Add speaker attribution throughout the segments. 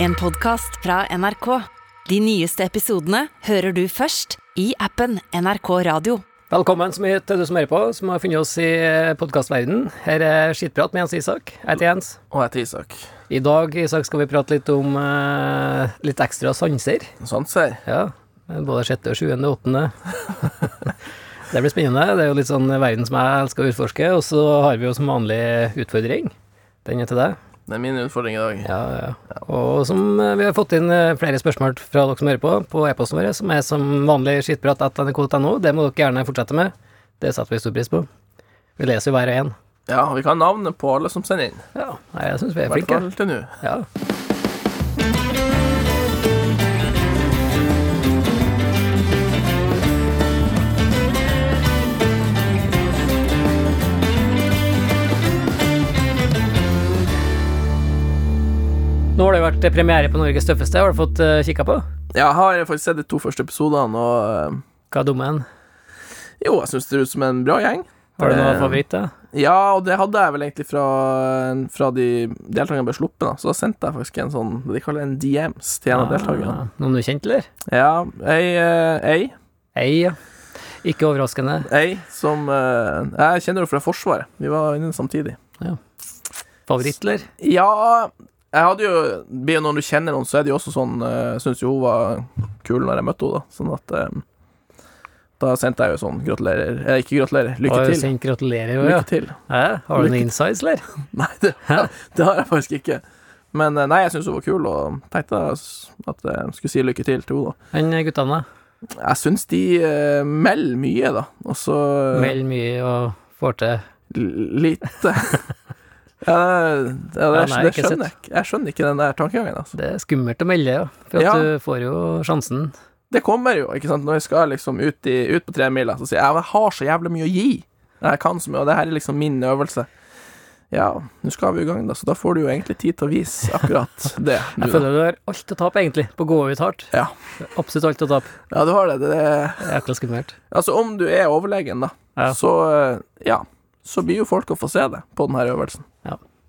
Speaker 1: En podcast fra NRK. De nyeste episodene hører du først i appen NRK Radio.
Speaker 2: Velkommen så mye til du som hører på, som har funnet oss i podkastverdenen. Her er Skittprat med Jens Isak. Jeg heter Jens.
Speaker 3: Og jeg heter Isak.
Speaker 2: I dag Isak, skal vi prate litt om eh, litt ekstra sanser.
Speaker 3: Sånn ser.
Speaker 2: Ja, Både sjette, og sjuende og åttende. det blir spennende. Det er jo litt sånn verden som jeg elsker å utforske. Og så har vi jo som vanlig utfordring. Den er til deg.
Speaker 3: Det er min utfordring i dag.
Speaker 2: Ja, ja. Og som eh, vi har fått inn eh, flere spørsmål fra dere som hører på, på e-posten vår, som er som vanlig skittprat.nrk.no. Det må dere gjerne fortsette med. Det setter vi stor pris på. Vi leser jo hver og en.
Speaker 3: Ja, vi kan ha navnet på alle som sender inn.
Speaker 2: Ja, nei, jeg syns vi
Speaker 3: I
Speaker 2: er
Speaker 3: hvert
Speaker 2: flinke.
Speaker 3: fall til nå.
Speaker 2: Ja. Nå har det jo vært premiere på Norges tøffeste. Har du fått uh, kikka på?
Speaker 3: Ja, jeg har faktisk sett de to første episodene, og eh,
Speaker 2: Hva er dummen?
Speaker 3: jo, jeg syns det ser ut som en bra gjeng.
Speaker 2: Har du
Speaker 3: Det-
Speaker 2: noen favoritt, da?
Speaker 3: Ja, og det hadde jeg vel egentlig fra, fra de deltakerne ble sluppet, da. Så da sendte jeg faktisk en sånn, det de kaller en DMs til en av deltakerne.
Speaker 2: Ah, Noen du kjente, eller?
Speaker 3: Ja, ei, eh, ei,
Speaker 2: Ei, ja. Ikke overraskende.
Speaker 3: ei som eh, Jeg kjenner henne fra Forsvaret. Vi var inne samtidig.
Speaker 2: Favoritt, eller?
Speaker 3: Ja jeg hadde jo, blir jo Når du kjenner noen, så er det jo også sånn eh, Jeg syns jo hun var kul når jeg møtte henne, da. Sånn at eh, Da sendte jeg jo sånn Gratulerer. Eh, ikke gratulerer. Lykke
Speaker 2: Har du
Speaker 3: til.
Speaker 2: sendt gratulerer, jo, ja.
Speaker 3: Lykke til.
Speaker 2: Hæ? Har du
Speaker 3: Lykke
Speaker 2: noen insights, eller?
Speaker 3: Nei, det, det har jeg faktisk ikke. Men eh, nei, jeg syns hun var kul, og tenkte jeg s- at jeg skulle si lykke til til henne, da.
Speaker 2: Han eh, guttene
Speaker 3: Jeg syns de eh, melder mye, da. Og så eh,
Speaker 2: melder mye og får til.
Speaker 3: l- lite. Ja, det, det,
Speaker 2: Ja,
Speaker 3: det,
Speaker 2: nei, ikke sett.
Speaker 3: skjønner jeg ikke. Jeg skjønner ikke den der tankegangen, altså.
Speaker 2: Det er skummelt å melde, ja. For at
Speaker 3: Ja.
Speaker 2: du får jo sjansen.
Speaker 3: Det kommer jo, ikke sant. Når jeg skal liksom ut, i, ut på tremila, så sier jeg jeg har så jævlig mye å gi. Jeg kan så mye, og det her er liksom min øvelse. Ja, nå skal vi i gang, da, så da får du jo egentlig tid til å vise akkurat det.
Speaker 2: Jeg
Speaker 3: nå, da.
Speaker 2: føler du har alt å tape, egentlig, på å gå ut hardt.
Speaker 3: Ja.
Speaker 2: Absolutt alt å tape.
Speaker 3: Ja, du har det. det er,
Speaker 2: Det er Jækla skummelt.
Speaker 3: altså, om du er overlegen, da,
Speaker 2: Ja.
Speaker 3: så eh, ja. Så blir jo folk å få se det på denne øvelsen.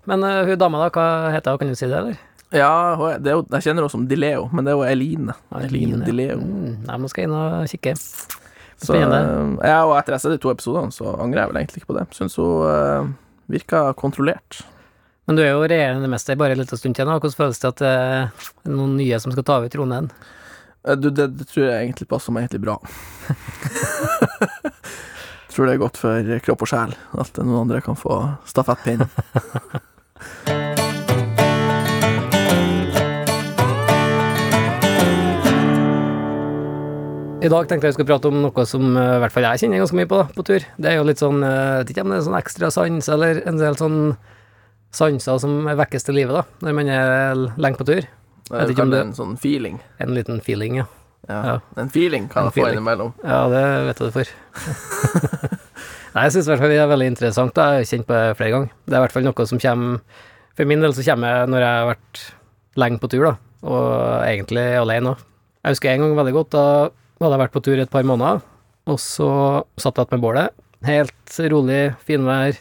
Speaker 2: Men eh, hun dama, da, hva heter hun? Kan du si det, eller?
Speaker 3: Ja, hun er- det er jo, jeg kjenner henne som Dileo, men det er jo Eline.
Speaker 2: Aline.
Speaker 3: Dileo.
Speaker 2: Mm, nei, nå skal jeg inn og kikke.
Speaker 3: Så,
Speaker 2: Spennende.
Speaker 3: eh, ja, og etter jeg har sett de to episodene, så angrer jeg vel egentlig ikke på det. Syns hun eh, virka kontrollert.
Speaker 2: Men du er jo regjerende mester bare en liten stund til nå. Hvordan føles det at det er noen nye som skal ta over tronen?
Speaker 3: Eh, Du, det, det tror jeg egentlig passer meg egentlig bra. tror det er godt for kropp og sjel at noen andre kan få stafettpinnen.
Speaker 2: I dag tenkte jeg vi skulle prate om noe som eh, i hvert fall jeg kjenner ganske mye på da, på tur. Det er jo litt sånn, eh, jeg vet ikke om det er sånn ekstra sans, eller en del sånn sanser som vekkes til livet da, når man er l- lenge på tur.
Speaker 3: Det er
Speaker 2: ikke om
Speaker 3: vel
Speaker 2: det-
Speaker 3: en sånn feeling.
Speaker 2: En liten feeling, ja.
Speaker 3: Ja.
Speaker 2: Ja.
Speaker 3: En feeling kan
Speaker 2: En
Speaker 3: jeg få
Speaker 2: feeling.
Speaker 3: innimellom.
Speaker 2: Ja, det vet jeg du for. Nei, jeg synes i hvert fall det er veldig interessant, da. jeg har kjent på det flere ganger. Det er i hvert fall noe som kommer, for min del så kommer jeg når jeg har vært lenge på tur da, og egentlig alene også. Jeg husker en gang veldig godt, da hadde jeg vært på tur i et par måneder, og så satt jeg igjen med bålet. Helt rolig, finvær,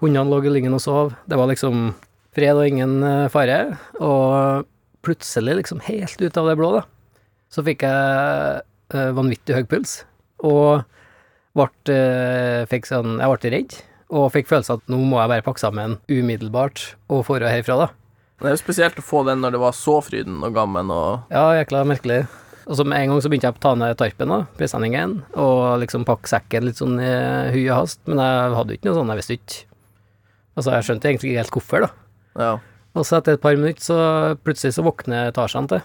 Speaker 2: hundene lå i lyngen og sov. Det var liksom fred og ingen eh, fare, og plutselig liksom helt ut av det blå da, så fikk jeg eh, vanvittig høy puls, og vart, eh, fikk sånn, jeg ble redd, og fikk følelsen at nå må jeg bare pakke sammen umiddelbart og dra herfra, da.
Speaker 3: Det er jo spesielt å få den når det var så fryden og gammen og
Speaker 2: Ja, jækla merkelig. Og så med en gang så begynte jeg å ta ned tarpen, da, presenningen, og liksom pakke sekken litt sånn i hui og hast, men jeg hadde jo ikke noe sånn, jeg visste jo ikke. Altså, jeg skjønte egentlig ikke helt hvorfor, da.
Speaker 3: ja.
Speaker 2: Og så etter et par minutter, så plutselig så våkner etasjene til.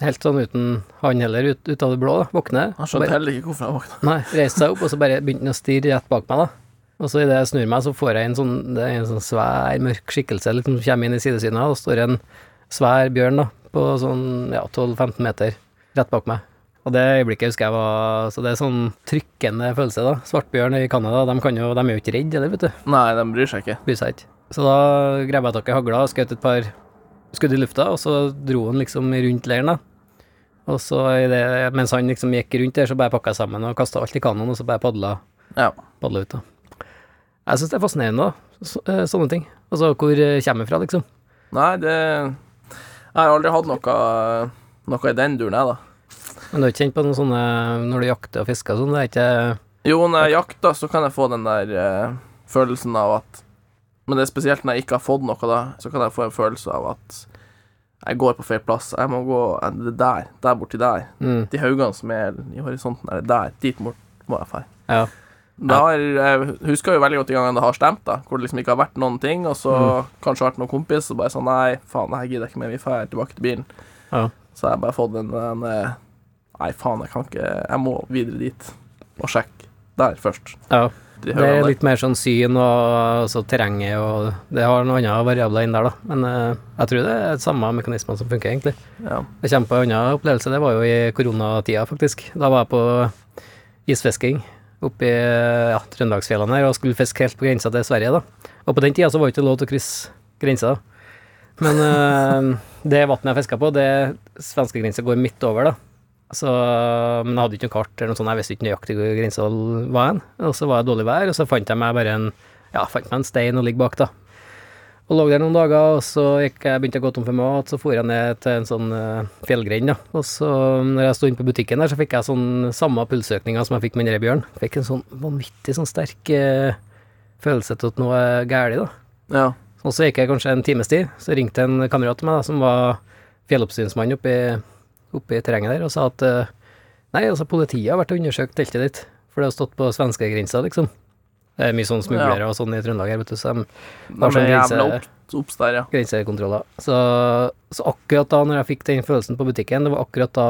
Speaker 2: Helt sånn uten han heller, ut, ut av det blå, da. Våkner.
Speaker 3: Han
Speaker 2: Bare-
Speaker 3: skjønte heller ikke hvorfor jeg våkna.
Speaker 2: Nei, reiste seg opp, og så bare begynte han å stirre rett bak meg, da. Og så idet jeg snur meg, så får jeg en sånn, det er en sånn svær, mørk skikkelse liksom, som kommer inn i sidesynet, og står en svær bjørn da, på sånn ja, 12-15 meter rett bak meg. Og det øyeblikket husker jeg var Så det er sånn trykkende følelse, da. Svartbjørn i Canada, de, kan jo, de er jo ikke redde, eller, vet du.
Speaker 3: Nei, de bryr seg ikke.
Speaker 2: Bryr seg ikke. Så da grabba jeg tak i hagla og skjøt et par skudd i lufta, og så dro han liksom rundt leiren, da. Og så i det, mens han liksom gikk rundt der, så bare pakka jeg sammen og kasta alt i kanoen, og så bare padla
Speaker 3: Ja.
Speaker 2: padle ut da. Jeg synes det er fascinerende da, så, eh, sånne ting. Altså hvor eh, kommer jeg fra liksom.
Speaker 3: Nei, det Jeg har aldri hatt noe, noe i den duren, jeg, da.
Speaker 2: Men du har ikke kjent på noen sånne når du jakter og fisker og sånn? Det er ikke
Speaker 3: Jo, når jeg jakter, så kan jeg få den der eh, følelsen av at Men det er spesielt når jeg ikke har fått noe, da. Så kan jeg få en følelse av at jeg går på feil plass. Jeg må gå eh, det der. Der borti der.
Speaker 2: mm,
Speaker 3: De haugene som er i horisonten, er det der. Dit bort må jeg dra.
Speaker 2: Ja.
Speaker 3: Det har, jeg husker jo veldig godt de gangene det har stemt, da hvor det liksom ikke har vært noen ting, og så
Speaker 2: Mm.
Speaker 3: kanskje vært noen kompis, og bare sånn Nei, faen, jeg gidder ikke mer, vi drar tilbake til bilen.
Speaker 2: Ja.
Speaker 3: Så jeg har bare fått en, en eh, Nei, faen, jeg kan ikke Jeg må videre dit og sjekke der først.
Speaker 2: ja.
Speaker 3: De
Speaker 2: Det
Speaker 3: hører
Speaker 2: er
Speaker 3: der.
Speaker 2: litt mer sånn syn og så terrenget og Det har noen andre variabler inn der, da. Men eh, jeg tror det er samme mekanismer som funker, egentlig.
Speaker 3: Ja.
Speaker 2: Jeg kommer på en annen opplevelse. Det var jo i koronatida, faktisk. Da var jeg på isfisking oppe i ja, Trøndelagsfjellene her og skulle fiske helt på grensa til Sverige, da. Og på den tida så var det ikke lov til å krysse grensa. da. Men eh, det vannet jeg fiska på, det svenskegrensa går midt over, da. Så, men jeg hadde ikke noe kart eller noe sånt, jeg visste ikke nøyaktig hvor grensa var hen. Og så var det dårlig vær, og så fant jeg meg bare en ja, fant meg en stein å ligge bak, da. Og lå der noen dager, og så gikk jeg, begynte jeg å gå tom for mat, så for jeg ned til en sånn uh, fjellgrend, da. Og så, når jeg sto inne på butikken der, så fikk jeg sånn samme pulsøkninga som jeg fikk med den bjørnen. Fikk en sånn vanvittig sånn sterk eh, følelse til at noe er galt, da.
Speaker 3: ja.
Speaker 2: Og så gikk jeg kanskje en times tid, så ringte en kamerat til meg da, som var fjelloppsynsmann oppe i, oppe i terrenget der, og sa at eh, nei, altså politiet har vært og undersøkt teltet ditt, for det har stått på svenskegrensa, liksom. Det er mye sånn smuglere og sånn i Trøndelag her, vet du, så de
Speaker 3: De
Speaker 2: sånn
Speaker 3: er jævla
Speaker 2: grense-
Speaker 3: opp, opps der, ja.
Speaker 2: grensekontroller. Så, så akkurat da når jeg fikk den følelsen på butikken, det var akkurat da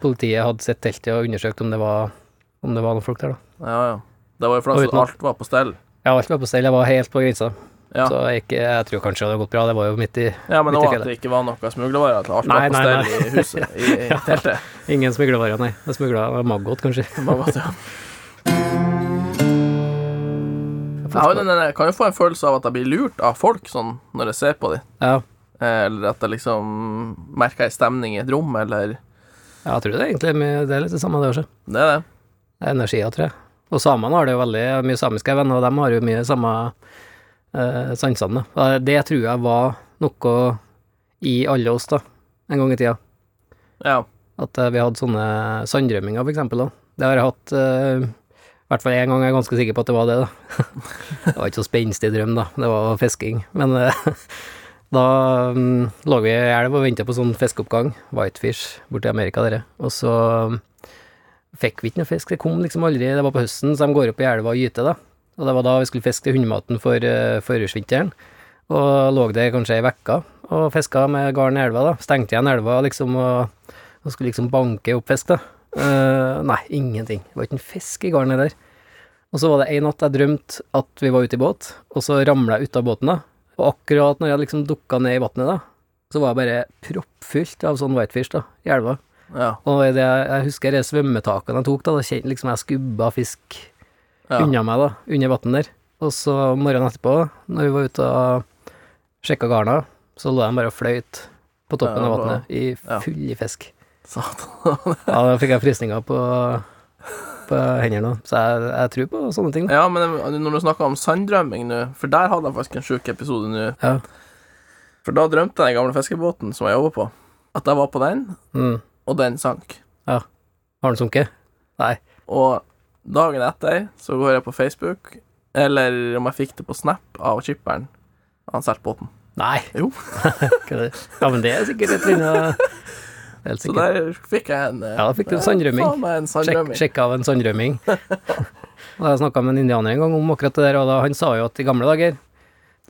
Speaker 2: politiet hadde sett teltet og undersøkt om det var, om det var noen folk der, da.
Speaker 3: ja, ja. Det var jo
Speaker 2: Og
Speaker 3: fordi
Speaker 2: uten at-
Speaker 3: alt var på stell.
Speaker 2: Ja, alt var på stell, jeg var helt på grensa.
Speaker 3: Ja.
Speaker 2: Så jeg, gikk, jeg tror kanskje det hadde gått bra, det var jo midt i
Speaker 3: Ja, men
Speaker 2: midt i
Speaker 3: òg
Speaker 2: fjellet.
Speaker 3: at det ikke var noe smuglervarer. At alt
Speaker 2: Nei,
Speaker 3: var på
Speaker 2: nei,
Speaker 3: stell i huset. I, i teltet.
Speaker 2: Ingen smuglervarer, nei. Det smugla maggot, kanskje.
Speaker 3: Det var godt, ja. Jeg har jo den der- kan jo få en følelse av at jeg blir lurt av folk sånn, når jeg ser på dem.
Speaker 2: Ja,
Speaker 3: Eller at jeg liksom merker ei stemning i et rom, eller
Speaker 2: Ja, jeg tror det er egentlig mye, det er litt det samme, det også.
Speaker 3: Det er det.
Speaker 2: Det er Energia, tror jeg. Og samene har det jo veldig jeg har mye samiske venner, og de har jo mye samme eh, sansene. Og Det tror jeg var noe i alle oss, da, en gang i tida.
Speaker 3: Ja.
Speaker 2: At eh, vi hadde sånne sanddrømminger, for eksempel. Da. Det har jeg hatt eh, i hvert fall én gang, jeg er ganske sikker på at det var det. da. det var ikke så spenstig drøm, da. Det var fisking. Men eh, da mm, lå vi i elv og venta på sånn fiskeoppgang, whitefish, borti Amerika, dere. Og så mm, fikk vi ikke noe fisk. Det kom liksom aldri. Det var på høsten, så de går opp i elva og gyter, da. Og det var da vi skulle fiske til hundematen for uh, førjulsvinteren. Og lå der kanskje ei uke og fiska med garn i elva, da. Stengte igjen elva, liksom. og... Og skulle liksom banke opp fisk, da. Eh, nei, ingenting. Det var ikke en fisk i garnet der. Og så var det en natt jeg drømte at vi var ute i båt, og så ramla jeg ut av båten, da. Og akkurat når jeg liksom dukka ned i vannet, da, så var jeg bare proppfylt av sånn whitefish, da, i elva.
Speaker 3: Ja.
Speaker 2: Og i det jeg, jeg husker de svømmetakene jeg tok, da, da kjente liksom jeg skubba fisk
Speaker 3: ja.
Speaker 2: unna meg, da, under vannet der. Og så morgenen etterpå, når vi var ute og sjekka garna, så lå de bare og fløyt på toppen
Speaker 3: Ja,
Speaker 2: av
Speaker 3: bra.
Speaker 2: vannet i
Speaker 3: Ja.
Speaker 2: full i fisk.
Speaker 3: Satan.
Speaker 2: Ja, da fikk jeg frysninger på, på hendene. nå. Så jeg, jeg tror på sånne ting. Da.
Speaker 3: Ja, men når du snakker om sanddrømming nå, for der hadde jeg faktisk en sjuk episode nå.
Speaker 2: Ja.
Speaker 3: For da drømte jeg den gamle fiskebåten som jeg jobber på, at jeg var på den,
Speaker 2: Mm.
Speaker 3: og den sank.
Speaker 2: Har den sunket? Nei.
Speaker 3: Og dagen etter så går jeg på Facebook, eller om jeg fikk det på Snap av skipperen. Han solgte båten.
Speaker 2: Nei.
Speaker 3: Jo.
Speaker 2: Hva er det? ja, men det er sikkert et lite Helt
Speaker 3: Så
Speaker 2: sikkert.
Speaker 3: der fikk jeg en eh,
Speaker 2: Ja, da fikk du
Speaker 3: eh,
Speaker 2: sanddrømming.
Speaker 3: faen meg en
Speaker 2: Sjekk,
Speaker 3: sanddrømming.
Speaker 2: sjekk av en sanndrømming. Og jeg snakka med en indianer en gang om akkurat det der, og da, han sa jo at i gamle dager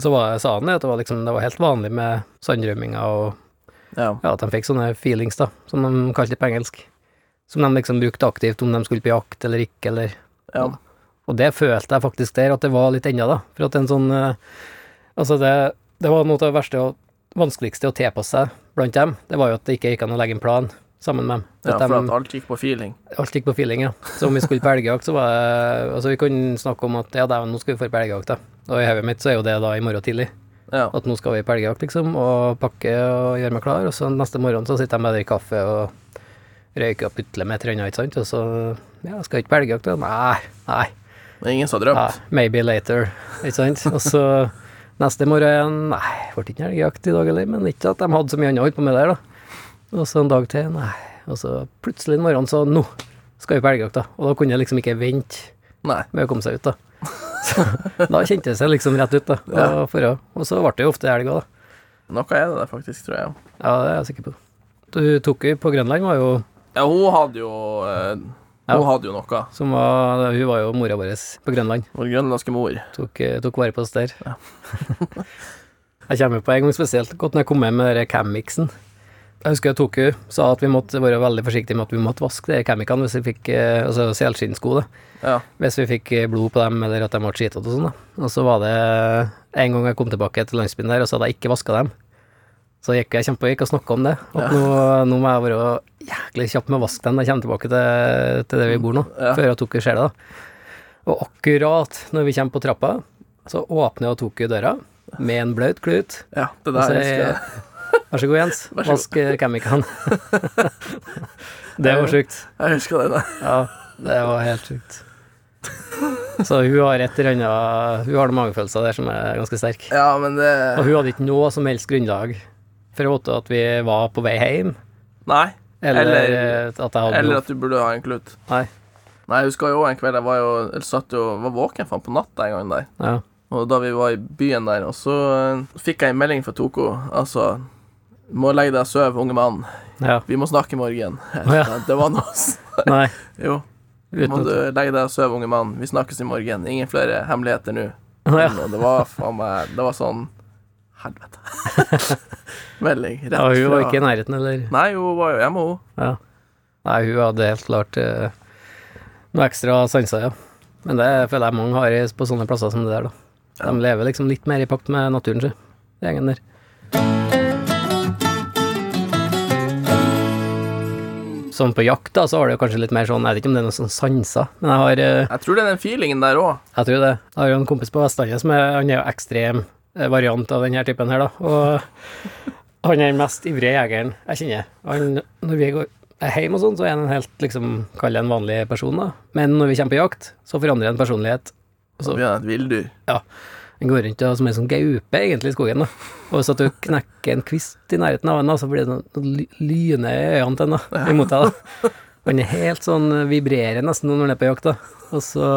Speaker 2: så var, sa han det, at det var, liksom, det var helt vanlig med sanddrømminger og
Speaker 3: Ja.
Speaker 2: Ja, at de fikk sånne feelings, da, som de kalte det på engelsk. Som de liksom brukte aktivt om de skulle på jakt eller ikke, eller
Speaker 3: Ja.
Speaker 2: Og det følte jeg faktisk der, at det var litt ennå, da. For at en sånn eh, Altså, det, det var noe av det verste og vanskeligste å tilpasse seg blant dem. Det var jo at det ikke gikk an å legge en plan sammen med dem.
Speaker 3: ja,
Speaker 2: At
Speaker 3: for
Speaker 2: dem-
Speaker 3: at alt gikk på feeling.
Speaker 2: Alt gikk på feeling, ja. Så om vi skulle på elgjakt, så var det Altså, vi kunne snakke om at ja, dæven, nå skal vi få på elgjakt, da. Og i hodet mitt så er jo det da i morgen tidlig.
Speaker 3: Ja.
Speaker 2: At nå skal vi på elgjakt, liksom, og pakke og gjøre meg klar. Og så neste morgen så sitter jeg med dere i kaffe og røyker og putler med et eller annet, ikke sant. Og så Ja, skal jeg ikke på elgjakt, da? Nei. Nei.
Speaker 3: Det er ingen som har drømt.
Speaker 2: Ja, maybe later, ikke sant. Og så Neste morgen Nei, ble ikke helgejakt i dag heller, men ikke at de hadde så mye annet å holde på med der, da. Og så en dag til, nei. Og så plutselig en morgen, så nå skal vi på helgejakt, da. Og da kunne jeg liksom ikke vente
Speaker 3: Nei.
Speaker 2: med å komme seg ut, da. Så, da kjentes jeg liksom rett ut, da. Og, for, og så ble det jo ofte helg òg, da.
Speaker 3: Noe er det der, faktisk, tror jeg.
Speaker 2: Ja, det er jeg sikker på. Du tok jo på Grønland, var jo,
Speaker 3: Ja, hun hadde jo eh,
Speaker 2: Ja.
Speaker 3: Hun hadde jo noe.
Speaker 2: som var, hun var jo mora vår på Grønland.
Speaker 3: Vår grønlandske mor.
Speaker 2: Tok, eh, tok vare på oss der. jeg kommer på en gang spesielt godt når jeg kom hjem med den Camixen. Jeg husker jeg tok jo, sa at vi måtte være veldig forsiktige med at vi måtte vaske de Camicene hvis vi fikk eh, altså selskinnssko, da.
Speaker 3: Ja.
Speaker 2: Hvis vi fikk eh, blod på dem, eller at de ble skitete og sånn, da. Og så var det en gang jeg kom tilbake til landsbyen der, og så hadde jeg ikke vaska dem. Så gikk jeg kjempe, gikk og snakka om det. At nå, nå må jeg være jæklig kjapp med å vaske dem når jeg kommer tilbake til, til der vi bor nå,
Speaker 3: Ja.
Speaker 2: før jeg tok i sjela. da. Og akkurat når vi kommer på trappa, så åpner jeg og tok i døra med en blaut klut.
Speaker 3: ja det
Speaker 2: Og så
Speaker 3: der
Speaker 2: sier
Speaker 3: husker jeg.
Speaker 2: Altså, jeg, Vær så god, Jens.
Speaker 3: så god.
Speaker 2: Vask eh, Camica'en. det var sjukt.
Speaker 3: Jeg husker det.
Speaker 2: Ja, det var helt sjukt. Så hun har et eller annet Hun har noen magefølelser der som er ganske sterk.
Speaker 3: Ja, men det
Speaker 2: Og hun hadde ikke noe som helst grunnlag for å vite at vi var på vei hjem,
Speaker 3: Nei.
Speaker 2: eller, eh,
Speaker 3: Eller-
Speaker 2: at jeg hadde
Speaker 3: Eller
Speaker 2: noe
Speaker 3: at du burde ha en klut.
Speaker 2: Nei.
Speaker 3: Nei, jeg husker jo en kveld jeg var jo Jeg satt jo var våken faen på natta en gang der.
Speaker 2: Ja.
Speaker 3: Og da vi var i byen der, og så eh, fikk jeg en melding fra Toko. Altså Må legge deg og sove, unge mann.
Speaker 2: ja.
Speaker 3: Vi må snakke i morgen.
Speaker 2: Å, ja.
Speaker 3: Det var noe s-
Speaker 2: Nei.
Speaker 3: Jo. Må
Speaker 2: Uten
Speaker 3: du
Speaker 2: at
Speaker 3: legge deg og sove, unge mann. Vi snakkes i morgen. Ingen flere hemmeligheter nå.
Speaker 2: Å, ja.
Speaker 3: Og det var faen meg Det var sånn Helvete. Melding. Rett
Speaker 2: ja, hun var ikke i nærheten, eller
Speaker 3: Nei, hun var jo hjemme, hun.
Speaker 2: Ja. Nei, hun hadde helt klart eh, noe ekstra sanser, ja. Men det føler jeg mange har i- på sånne plasser som det der, da. De lever liksom litt mer i pakt med naturen, sjø, gjengen der. Sånn på jakt, da, så har du jo kanskje litt mer sånn Jeg vet ikke om det er noen sånn sanser, men jeg har eh,
Speaker 3: Jeg tror det er den feelingen der òg.
Speaker 2: Jeg tror det. Jeg har jo en kompis på Vestlandet som er, han er jo ekstrem eh, variant av denne typen her, da. Og han er den mest ivrige jegeren jeg kjenner. Han, når vi går er hjemme og sånn, så er han en helt, liksom, kall det en vanlig person, da. Men når vi kommer på jakt, så forandrer han personlighet.
Speaker 3: Så blir han et villdyr.
Speaker 2: Han går rundt og som en sånn gaupe, egentlig, i skogen, da. Og hvis at du knekker en kvist i nærheten av han, da, så blir det noe ly- lyne i øynene til han, da, imot deg, da. Han er helt sånn vibrerer nesten når han er på jakt, da. Og så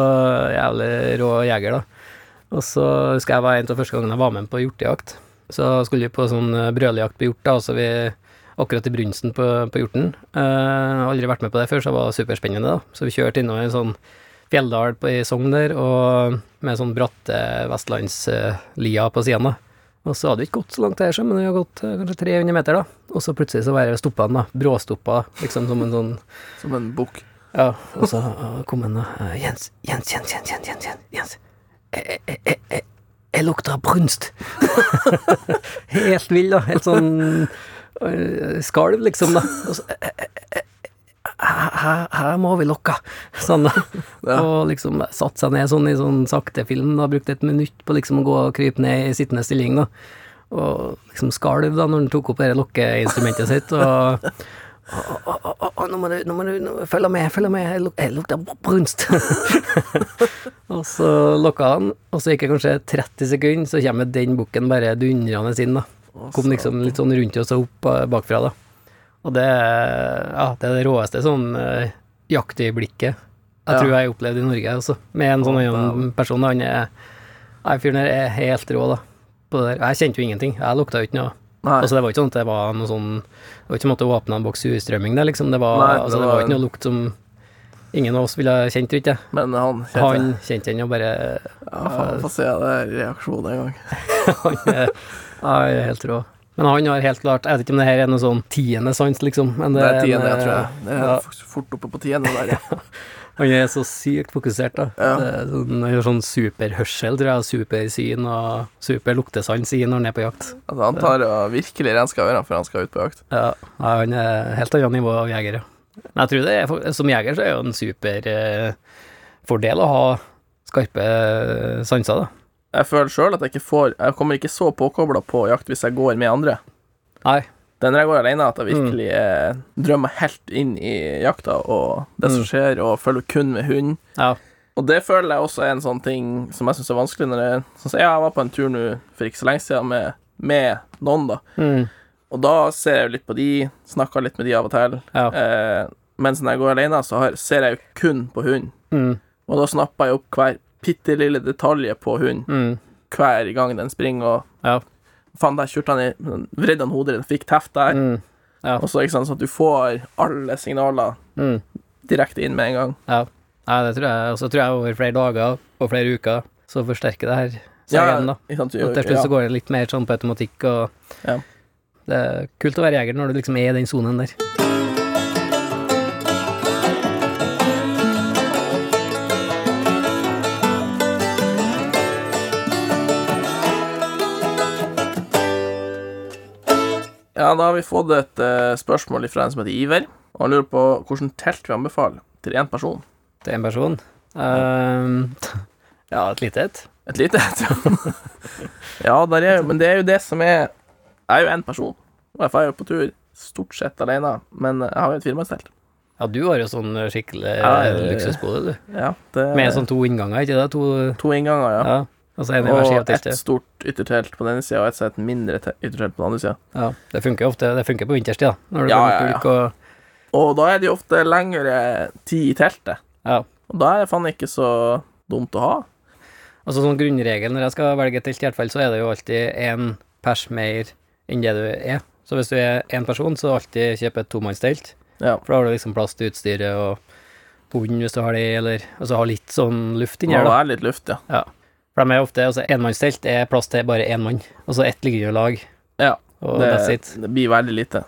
Speaker 2: jævlig rå jeger, da. Og så husker jeg var en av første gangene jeg var med på hjortejakt. Så skulle vi på sånn eh, brøljakt på hjort, da, og så vi akkurat i brunsten på, på hjorten. Eh, har aldri vært med på det før, så det var superspennende, da. Så vi kjørte innom en sånn fjelldal på, i Sogn der, og med sånn bratte vestlandslia på siden da. Og så hadde vi ikke gått så langt her, så, men vi hadde gått eh, kanskje 300 meter da. Og så plutselig så var jeg stoppa den da, bråstoppa, liksom som en sånn
Speaker 3: Som en bukk.
Speaker 2: ja, og så eh, kom han da. eh, Jens, Jens, Jens, Jens, Jens, Jens, Jens, Jens. Eh, Jeg, jeg, jeg, jeg, jeg lukter av brunst. helt vill, da. Helt sånn eh, skalv, liksom, da. Og så, eh, eh, eh, her, her- her må vi lokke. Sånn, da. Og liksom satte seg ned sånn i sånn sakte film. Da brukte et minutt på liksom å gå og krype ned i sittende stilling, da. Og liksom skalv da når han tok opp det her lokkeinstrumentet sitt. og... Å, å, å, å, nå må du, nå må du nå, følge med, følge med, jeg luk- jeg lukter br- brunst. og så lokka han, og så gikk det kanskje 30 sekunder, så kommer den bukken bare dundrende inn, da. Kom liksom litt sånn rundt oss og opp eh, bakfra, da. Og det, er- ja, det er det råeste sånn eh, jaktøyeblikket jeg
Speaker 3: Ja.
Speaker 2: tror jeg opplevde i Norge, altså. Med en sånn annen person. Han er Nei, fyren der er helt rå, da. På det der. Jeg kjente jo ingenting. Jeg lukta jo ikke noe.
Speaker 3: Nei.
Speaker 2: Altså, det var ikke sånn at det var noe sånn Det var ikke som at du åpna en boks surstrømming der, liksom. Det var,
Speaker 3: Nei, det
Speaker 2: altså, det
Speaker 3: var
Speaker 2: var
Speaker 3: en-
Speaker 2: ikke noe lukt som ingen av oss ville ha kjent, tror ikke jeg.
Speaker 3: Men han kjente
Speaker 2: Han kjente den jo bare
Speaker 3: Ja, faen, få se det er reaksjonen en gang.
Speaker 2: Han er, han er helt rå. Men han har helt klart Jeg vet ikke om det her er noe sånn tiende sans, liksom. Men
Speaker 3: Det
Speaker 2: det, en,
Speaker 3: er tiende, jeg tror
Speaker 2: eh,
Speaker 3: jeg. Det er
Speaker 2: ja.
Speaker 3: f- fort oppe på tiende der, ja.
Speaker 2: Han er så sykt fokusert, da.
Speaker 3: Ja.
Speaker 2: Det er Sånn, han har sånn superhørsel, tror jeg, og supersyn og superluktesans i når han er på jakt.
Speaker 3: Altså, han tar og virkelig rensker ørene før han skal ut på jakt.
Speaker 2: Ja, ja, han er helt annet nivå av jeger, ja. Men jeg tror det er, for- som jeger så er det jo en super eh, fordel å ha skarpe eh, sanser, da.
Speaker 3: Jeg føler sjøl at jeg ikke får Jeg kommer ikke så påkobla på jakt hvis jeg går med andre.
Speaker 2: Nei,
Speaker 3: Det er når jeg går alene at jeg
Speaker 2: Mm.
Speaker 3: virkelig eh,
Speaker 2: Mm.
Speaker 3: drømmer helt inn i jakta og det som skjer, og følger kun med hund.
Speaker 2: ja,
Speaker 3: Og det føler jeg også er en sånn ting som jeg syns er vanskelig når jeg sånn, som- Ja, jeg var på en tur nå for ikke så lenge siden med, med noen, da.
Speaker 2: Mm.
Speaker 3: Og da ser jeg jo litt på de, snakker litt med de av og til.
Speaker 2: Ja.
Speaker 3: Eh, mens når jeg går alene, så har, ser jeg jo kun på hund.
Speaker 2: Mm.
Speaker 3: Og da snapper jeg opp hver bitte lille detalj på hund
Speaker 2: Mm.
Speaker 3: hver gang den springer og
Speaker 2: Ja.
Speaker 3: Faen, der kjørte han i Vridde han hodet ditt, fikk teft der.
Speaker 2: Mm. Ja.
Speaker 3: Og så, ikke sant, sånn at du får alle signaler
Speaker 2: Mm.
Speaker 3: direkte inn med en gang.
Speaker 2: Ja. Nei, det tror jeg. Og så tror jeg over flere dager og flere uker så forsterker det her seg
Speaker 3: Ja,
Speaker 2: igjen, da.
Speaker 3: ikke sant, du-
Speaker 2: Og til slutt
Speaker 3: ja.
Speaker 2: så går det litt mer sånn på automatikk, og
Speaker 3: Ja.
Speaker 2: det er kult å være jeger når du liksom er i den sonen der.
Speaker 3: Ja, da har vi fått et eh, spørsmål fra en som heter Iver. Og han lurer på hvilket telt vi anbefaler til én person.
Speaker 2: Til en person. Ehm, ja, et lite et.
Speaker 3: Et lite et. ja, der er, jo- men det er jo det som er Jeg er jo én person. Og jeg drar jo på tur stort sett alene, men jeg har jo et firmannstelt.
Speaker 2: Ja, du har jo sånn skikkelig eh,
Speaker 3: Ja, ja, ja.
Speaker 2: luksusbode, du.
Speaker 3: Ja, det-
Speaker 2: Med sånn to innganger, ikke det? To
Speaker 3: to innganger, ja.
Speaker 2: Ja. Og så en i hver side av
Speaker 3: Og ett
Speaker 2: teltet.
Speaker 3: stort yttertelt på den ene sida, og ett et mindre te- yttertelt på den andre sida.
Speaker 2: Ja, det funker jo ofte. Det funker på vinterstid, da. Når du
Speaker 3: Ja,
Speaker 2: kommer
Speaker 3: ja,
Speaker 2: til
Speaker 3: ja.
Speaker 2: ulk og
Speaker 3: Og da er det jo ofte lengre tid i teltet.
Speaker 2: Ja.
Speaker 3: Og da er det faen ikke så dumt å ha.
Speaker 2: Og så sånn grunnregel når jeg skal velge et telt, i hvert fall, så er det jo alltid én pers mer enn det du er. Så hvis du er én person, så alltid kjøp et tomannstelt.
Speaker 3: Ja.
Speaker 2: For da har du liksom plass til utstyret og hund hvis du har det, eller Og så ha litt sånn luft inni her,
Speaker 3: Må
Speaker 2: da.
Speaker 3: være litt luft, ja.
Speaker 2: Ja. For de er ofte altså Enmannstelt er plass til bare én mann, og så ett liggeunderlag,
Speaker 3: Ja,
Speaker 2: og that's
Speaker 3: det,
Speaker 2: it.
Speaker 3: det blir veldig lite.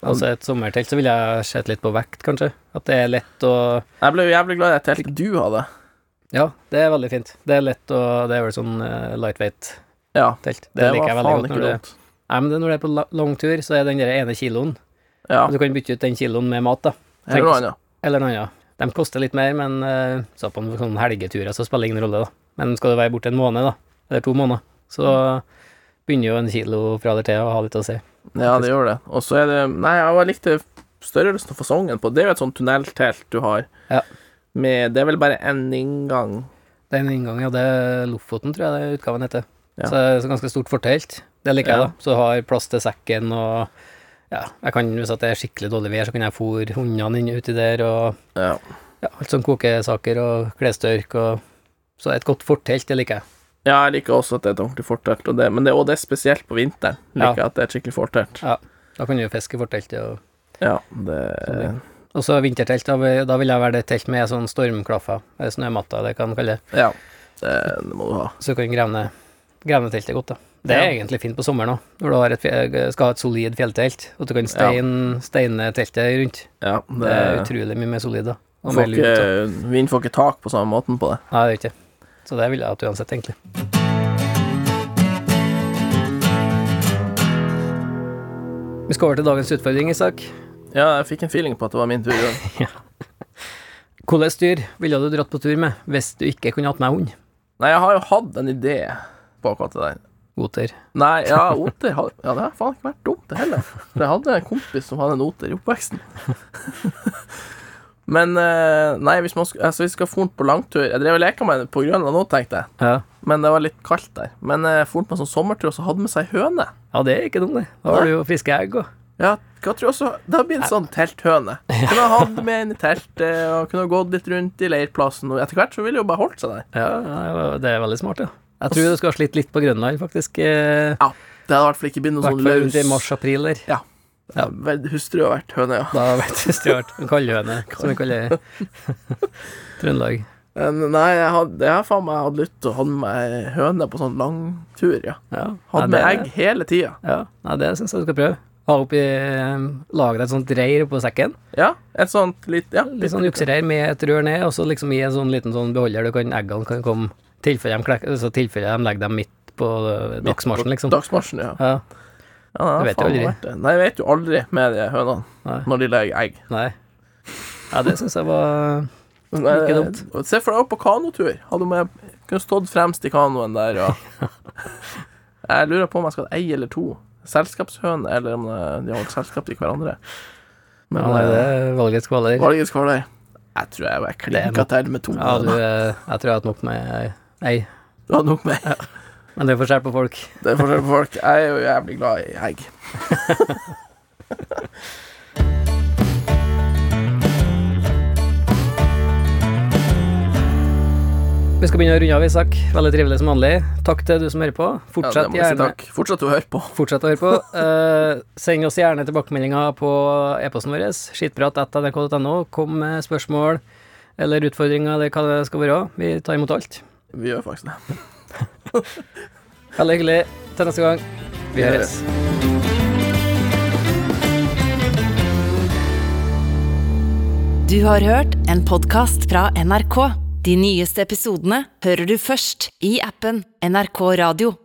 Speaker 2: Og så Altså, et sommertelt, så ville jeg sett litt på vekt, kanskje. At det er lett å
Speaker 3: Jeg ble jo jævlig glad i det teltet du hadde.
Speaker 2: Ja, det er veldig fint. Det er lett å Det er vel sånn eh, lightweight-telt.
Speaker 3: Ja,
Speaker 2: Det, liker jeg
Speaker 3: var
Speaker 2: veldig godt.
Speaker 3: faen ikke
Speaker 2: Når du,
Speaker 3: dumt.
Speaker 2: nei, men det, er når det er på la- lang tur, så er den der ene kiloen
Speaker 3: Ja,
Speaker 2: Og Du kan bytte ut den kiloen med mat, da.
Speaker 3: eller noe annet.
Speaker 2: Eller noe annet. De koster litt mer, men eh, så på en sånn helgeturer så spiller det ingen rolle, da. Men skal du være borte en måned, da, eller to måneder, så begynner jo en kilo fra eller til å ha litt å si.
Speaker 3: Ja, det gjør det. Og så er det Nei, jeg likte størrelsen og fasongen på Det er jo et sånt tunneltelt du har.
Speaker 2: Ja.
Speaker 3: Med Det er vel bare én inngang.
Speaker 2: Det er en inngang, ja. Det er Lofoten, tror jeg det er utgaven heter.
Speaker 3: Ja.
Speaker 2: Så det er et ganske stort fortelt. Det liker
Speaker 3: Ja.
Speaker 2: jeg, da. Så du har plass til sekken og Ja, jeg kan, hvis at det er skikkelig dårlig vær, så kan jeg fôre hundene inn uti der og
Speaker 3: Ja.
Speaker 2: ja, alt sånn kokesaker og klestørk og Så et godt fortelt, det liker jeg.
Speaker 3: ja, jeg liker også at det er et ordentlig fortelt, og det, men det, og det er spesielt på vinteren.
Speaker 2: Ja.
Speaker 3: Liker jeg at det er et skikkelig fortelt.
Speaker 2: Da kan du jo fiske i forteltet og
Speaker 3: Ja, det
Speaker 2: Sånn, Og så vintertelt, da, vil- da vil jeg være det telt med sånn stormklaffer, eller snømatta, det kan man kalle det.
Speaker 3: Ja, det, det må du ha.
Speaker 2: Så du kan grevne, grevne teltet godt, da. Det er egentlig fint på sommeren òg, når du har et, fje- skal ha et solid fjelltelt, og du kan stein, steine teltet rundt.
Speaker 3: Ja,
Speaker 2: Det
Speaker 3: det, eh,
Speaker 2: er utrolig mye mer solid, da. Og mer
Speaker 3: får
Speaker 2: lunt. da.
Speaker 3: ikke, Vind får ikke tak på samme måten på det.
Speaker 2: Nei, det er ikke Så det ville jeg hatt uansett, egentlig. Vi skal over til dagens utfordring, Isak.
Speaker 3: Ja, jeg fikk en feeling på at det var min tur. i dag.
Speaker 2: Hvilket dyr ville du dratt på tur med hvis du ikke kunne hatt med hund?
Speaker 3: Nei, jeg har jo hatt en idé på akkurat det der.
Speaker 2: Oter.
Speaker 3: Nei, ja, oter har- Ja, det har faen ikke vært dumt, det heller. For jeg hadde en kompis som hadde en oter i oppveksten. Men eh, nei, hvis man sk- altså, hvis jeg skal fornt på langtur Jeg drev og leka med den på Grønland nå, tenkte jeg,
Speaker 2: Ja.
Speaker 3: men det var litt kaldt der. Men jeg fornt på en sånn sommertur, og så hadde med seg høne.
Speaker 2: Ja, det er ikke dumt, det. Da har du jo friske egg òg.
Speaker 3: Ja, hva tror du også Det har blitt sånn telthøne. Kunne ha hatt med inn i teltet, og kunne ha gått litt rundt i leirplassen, og etter hvert så ville jo bare holdt seg der.
Speaker 2: Ja, det er veldig smart, ja. Jeg tror du skal ha slitt litt på Grønland, faktisk. eh,
Speaker 3: Ja, det hadde i hvert fall ikke blitt
Speaker 2: I
Speaker 3: noe
Speaker 2: hvert
Speaker 3: sånn
Speaker 2: fall rundt i
Speaker 3: løs
Speaker 2: mars-april der.
Speaker 3: Ja.
Speaker 2: Ja.
Speaker 3: Vel, Hustru har vært høne, ja.
Speaker 2: Da vet du stjålet en kaldhøne, som vi kaller Trøndelag.
Speaker 3: Men Nei, jeg hadde, jeg har faen meg hadde lyst til å ha med meg høne på sånn lang tur, ja.
Speaker 2: Ja. Nei,
Speaker 3: Hadde med
Speaker 2: det-
Speaker 3: egg hele tida.
Speaker 2: Ja, Nei, det syns jeg du skal prøve. Ha oppi Lage deg et sånt reir oppå sekken.
Speaker 3: Ja, et sånt litt Ja,
Speaker 2: Litt sånn juksereir med et rør ned, og så liksom i en sånn liten sånn beholder du kan eggene kan komme tilfelle de, klek- altså, tilfelle de legger dem midt på eh, dagsmarsjen, liksom.
Speaker 3: Dagsmarsjen, ja.
Speaker 2: Ja,
Speaker 3: ja nei,
Speaker 2: Du vet jo
Speaker 3: faen,
Speaker 2: aldri.
Speaker 3: vært det. Nei, jeg vet jo aldri med de hønene
Speaker 2: Nei.
Speaker 3: når de legger egg.
Speaker 2: nei. Ja, det syns jeg var
Speaker 3: Nei,
Speaker 2: Ikke dumt.
Speaker 3: eh, Se for deg på kanotur. Hadde med, kunne stått fremst i kanoen der og Jeg lurer på om jeg skal ha ei eller to. Selskapshøne, eller eh, om det- de har holdt selskap til hverandre. Men
Speaker 2: Ja, nei,
Speaker 3: eh,
Speaker 2: det er valgets kvaler.
Speaker 3: Valget skal være der. Jeg tror jeg var
Speaker 2: Det er
Speaker 3: klinka
Speaker 2: nok-
Speaker 3: til med to.
Speaker 2: Ja, du,
Speaker 3: måneder.
Speaker 2: eh, jeg tror jeg har hatt nok med ei.
Speaker 3: du hadde nok med
Speaker 2: Men det er forskjell på folk.
Speaker 3: Det er forskjell på folk. Jeg er jo jævlig glad i egg.
Speaker 2: Vi skal begynne å runde av, Isak. Veldig trivelig som vanlig. Takk til du som hører på.
Speaker 3: Ja,
Speaker 2: Fortsett
Speaker 3: det må jeg si
Speaker 2: gjerne
Speaker 3: takk. Fortsett å høre på.
Speaker 2: Fortsett å høre på. Eh, send oss gjerne tilbakemeldinger på e-posten vår, skittprat.nrk.no. Kom med spørsmål eller utfordringer eller hva det skal være. Vi tar imot alt.
Speaker 3: Vi gjør faktisk det.
Speaker 2: Veldig hyggelig. Til neste gang.
Speaker 3: Vi
Speaker 2: Vi
Speaker 3: høres.
Speaker 2: høres.
Speaker 1: Du har hørt en podkast fra NRK. De nyeste episodene hører du først i appen NRK Radio.